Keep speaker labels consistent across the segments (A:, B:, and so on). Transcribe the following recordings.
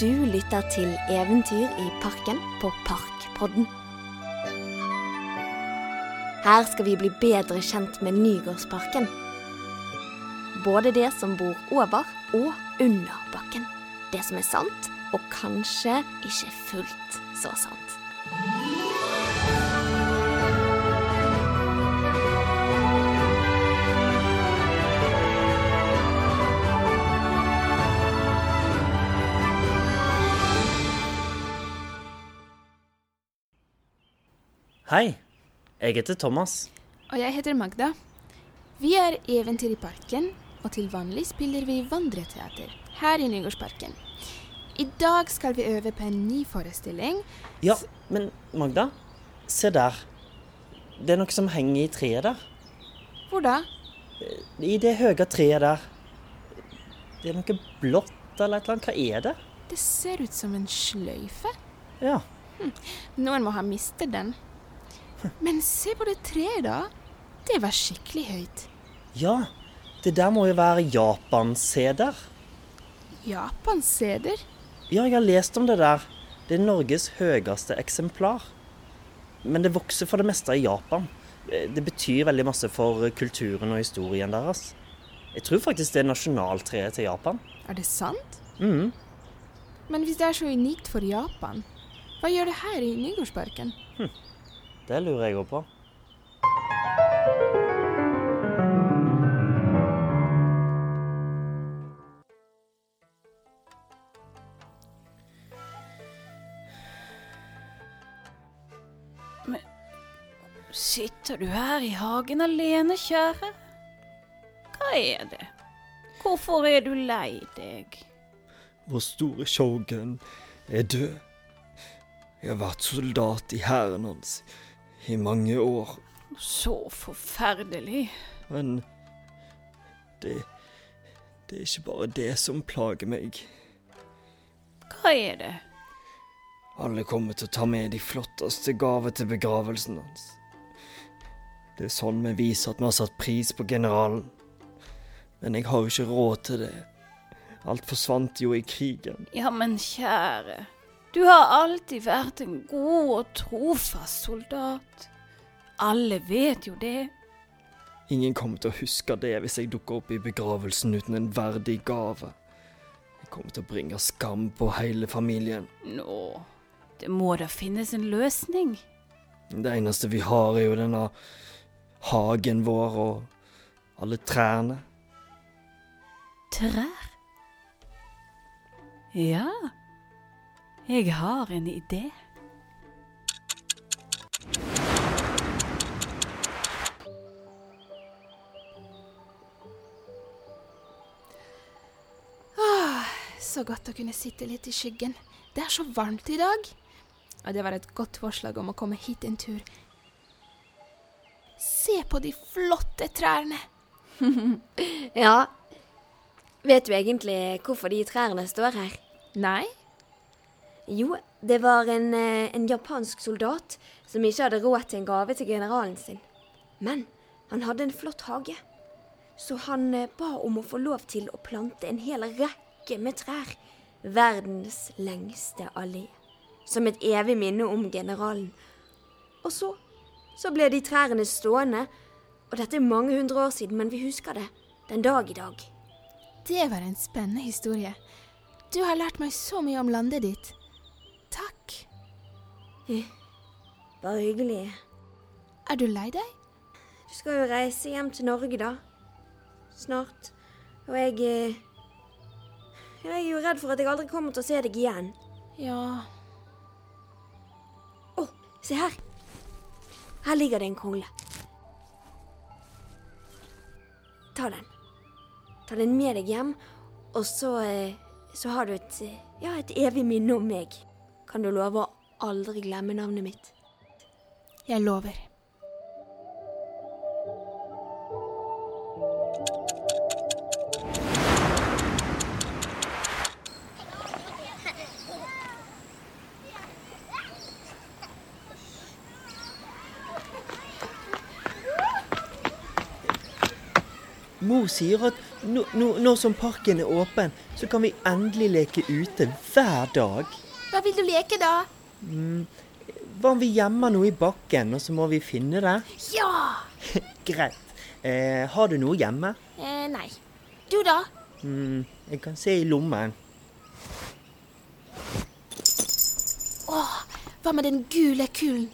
A: Du lytter til Eventyr i parken på Parkpodden. Her skal vi bli bedre kjent med Nygårdsparken. Både det som bor over og under bakken. Det som er sant, og kanskje ikke fullt så sant.
B: Hei, jeg heter Thomas.
C: Og jeg heter Magda. Vi er Eventyr i parken, og til vanlig spiller vi vandreteater her i Nygårdsparken. I dag skal vi øve på en ny forestilling.
B: Ja, men Magda, se der. Det er noe som henger i treet der.
C: Hvor da?
B: I det høye treet der. Det er noe blått eller et eller annet. Hva er det?
C: Det ser ut som en sløyfe.
B: Ja,
C: Noen må ha mistet den. Men se på det treet, da. Det var skikkelig høyt.
B: ja. Det der må jo være japanseder.
C: Japans seder.
B: Ja, jeg har lest om det der. Det er Norges høyeste eksemplar. Men det vokser for det meste i Japan. Eh, Det betyr veldig masse for kulturen og historien deres. Jeg tror faktisk det er nasjonaltreet til Japan.
C: Er det sant?
B: Mhm.
C: Men hvis det er så unikt for Japan, hva gjør det her i Nygårdsparken?
B: Det lurer jeg òg på.
D: Sitter du her i hagen alene, kjære? Hva er det? Hvorfor er du lei deg?
E: Vår store shogun er død. Jeg har vært soldat i hæren hans i mange år,
D: Så forferdelig.
E: men det Det er ikke bare det som plager meg.
D: Hva er det?
E: Alle kommer til å ta med de flotteste gaver til begravelsen hans. Det er sånn vi viser at vi har satt pris på generalen. Men jeg har jo ikke råd til det. Alt forsvant jo i krigen.
D: Ja, men kjære, du har alltid vært en god og trofast soldat. Alle vet jo det.
E: Ingen kommer til å huske det hvis jeg dukker opp i begravelsen uten en verdig gave. Jeg kommer til å bringe skam på hele familien.
D: Nå, det må da finnes en løsning.
E: Det eneste vi har, er jo denne hagen vår og alle trærne.
D: Trær? Ja, jeg har en idé.
C: Så godt å kunne sitte litt i skyggen. Det er så varmt i dag. Og det var et godt forslag om å komme hit en tur. Se på de flotte trærne!
A: Ja, vet du egentlig hvorfor de trærne står her?
C: Nei,
A: Jo, det var en, eh, en japansk soldat som ikke hadde råd til en gave til generalen sin. Men han hadde en flott hage, så han eh, ba om å få lov til å plante en hel rekke med trær. Verdens lengste allé. Som et evig minne om generalen. Og så, så ble de trærne stående. Og dette er mange hundre år siden, men vi husker det. Den dag i dag.
C: det var en spennende historie. Du har lært meg så mye om landet ditt. Takk.
A: Bare hyggelig.
C: Er du lei deg?
A: Du skal jo reise hjem til Norge, da. Snart. Og jeg eh, Jeg er jo redd for at jeg aldri kommer til å se deg igjen.
C: Ja
A: Å, se her. Her ligger det en kongle. Ta den. Ta den med deg hjem, og så eh, Så har du et eh, Ja, et evig minne om meg. Kan du love å aldri glemme navnet mitt?
C: jeg lover.
E: Mormor!
B: Mor sier at nå, nå, nå som parken er åpen, så kan vi endelig leke ute hver dag.
C: Hva vil du leke, da?
B: Hva om vi gjemmer noe i bakken, og så må vi finne det?
C: Ja!
B: Greit. Eh, har du noe hjemme?
C: Eh, nei. Du, da?
B: Mm, jeg kan se i lommen.
C: Hva med den gule kulen?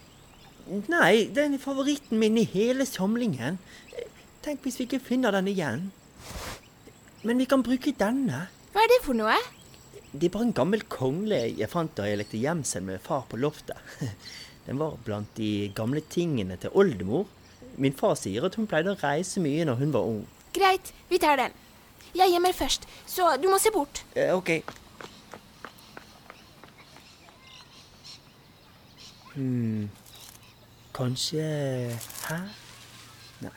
B: Nei, den er favoritten min i hele samlingen. Eh, Tenk hvis vi ikke finner den igjen. Men vi kan bruke denne.
C: Hva er det for noe?
B: Det er bare en gammel kongle jeg fant da jeg lekte gjemsel med far på loftet. Den var blant de gamle tingene til oldemor. Min far sier at hun pleide å reise mye når hun var ung.
C: Greit, vi tar den. Jeg gjemmer først, så du må se bort.
B: Eh, OK. Hmm. Kanskje her? Nei.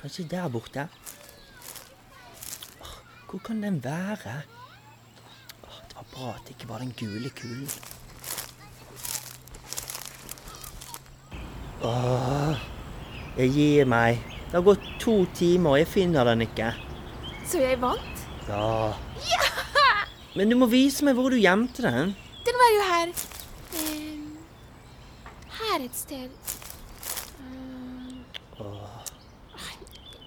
B: Kanskje der borte? Åh, Hvor kan den være? Åh, det var bra at det ikke var den gule kulen. Åh, jeg gir meg. Det har gått to timer, og jeg finner den ikke.
C: Så jeg vant?
B: Ja. Men du må vise meg hvor du gjemte den.
C: Den var jo her. Ehm, her et sted. Ehm,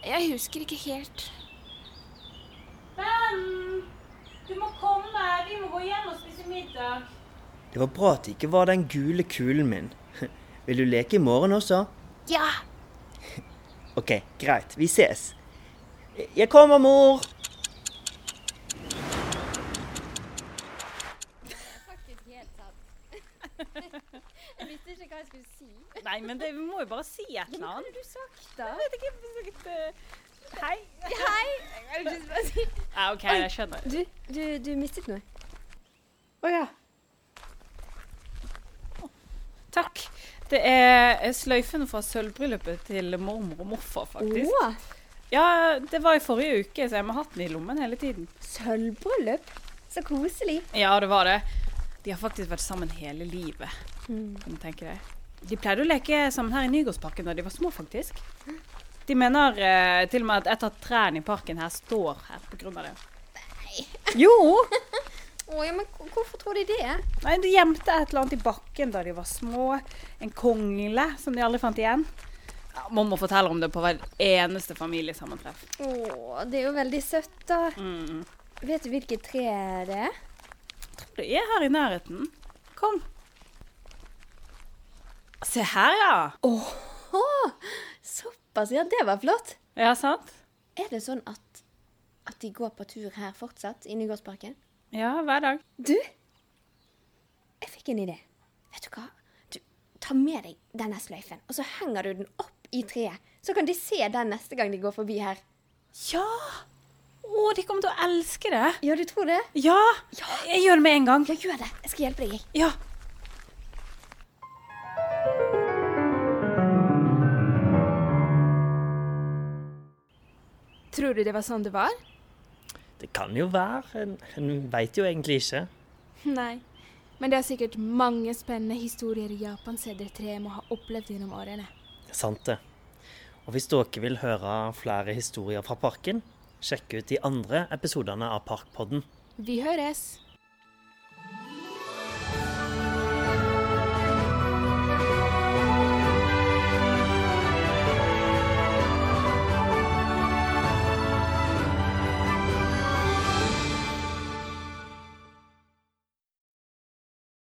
C: Jeg husker ikke helt.
D: Ben, du må komme. Vi må gå hjem og spise middag.
B: Det var bra at det ikke var den gule kulen min. Vil du leke i morgen også?
C: Ja,
B: OK, greit. Vi ses. Jeg kommer, mor!
F: Jeg visste ikke hva jeg skulle si.
D: Nei, men det, vi må jo bare si et eller annet.
F: du sagt da?
D: Jeg vet ikke, vi skal ikke Hei.
F: Hei! Jeg kan ikke bare si.
D: Ja, Ah, OK, jeg skjønner.
A: Du, du, du mistet noe.
D: Å ja. Takk. Det er sløyfen fra sølvbryllupet til mormor og morfar, faktisk.
A: Å,
D: Ja, det var i forrige uke, så jeg må ha hatt den i lommen hele tiden.
A: sølvbryllup. Så koselig.
D: Ja, det var det. De har faktisk vært sammen hele livet, kan du tenke deg. De pleide å leke sammen her i Nygårdsparken da de var små, faktisk. De mener eh, til og med at et av trærne i parken her står her på grunn av det. Jo!
F: Å, ja, men hvor- hvorfor tror de det?
D: Nei, de gjemte et eller annet i bakken da de var små. En kongle som de aldri fant igjen. Ja, Mamma forteller om det på hver eneste familiesammentreff.
F: Å, det er jo veldig søtt, da.
D: Mm.
F: Vet du hvilket tre det er?
D: Det er her i nærheten. Kom. Se her, ja.
A: Å, såpass. Ja, det var flott.
D: Ja, sant?
A: Er det sånn at, at de går på tur her fortsatt, i Nygårdsparken?
D: Ja, hver dag.
A: Du, jeg fikk en idé. Vet du hva? Du, ta med deg denne sløyfen, og så henger du den opp i treet. Så kan de se den neste gang de går forbi her.
D: Ja! Å, de kommer til å elske det.
A: Ja, du tror det?
D: Ja! Jeg gjør det med en gang.
A: Ja, gjør det. Jeg skal hjelpe deg, jeg.
D: Ja.
C: Tror du det var sånn det var?
B: Det kan jo være. En, en veit jo egentlig ikke.
C: Nei. Men det er sikkert mange spennende historier Japan CD3 må ha opplevd gjennom årene.
B: Sant det. Og hvis dere vil høre flere historier fra parken, sjekk ut de andre episodene av Parkpodden.
C: Vi høres!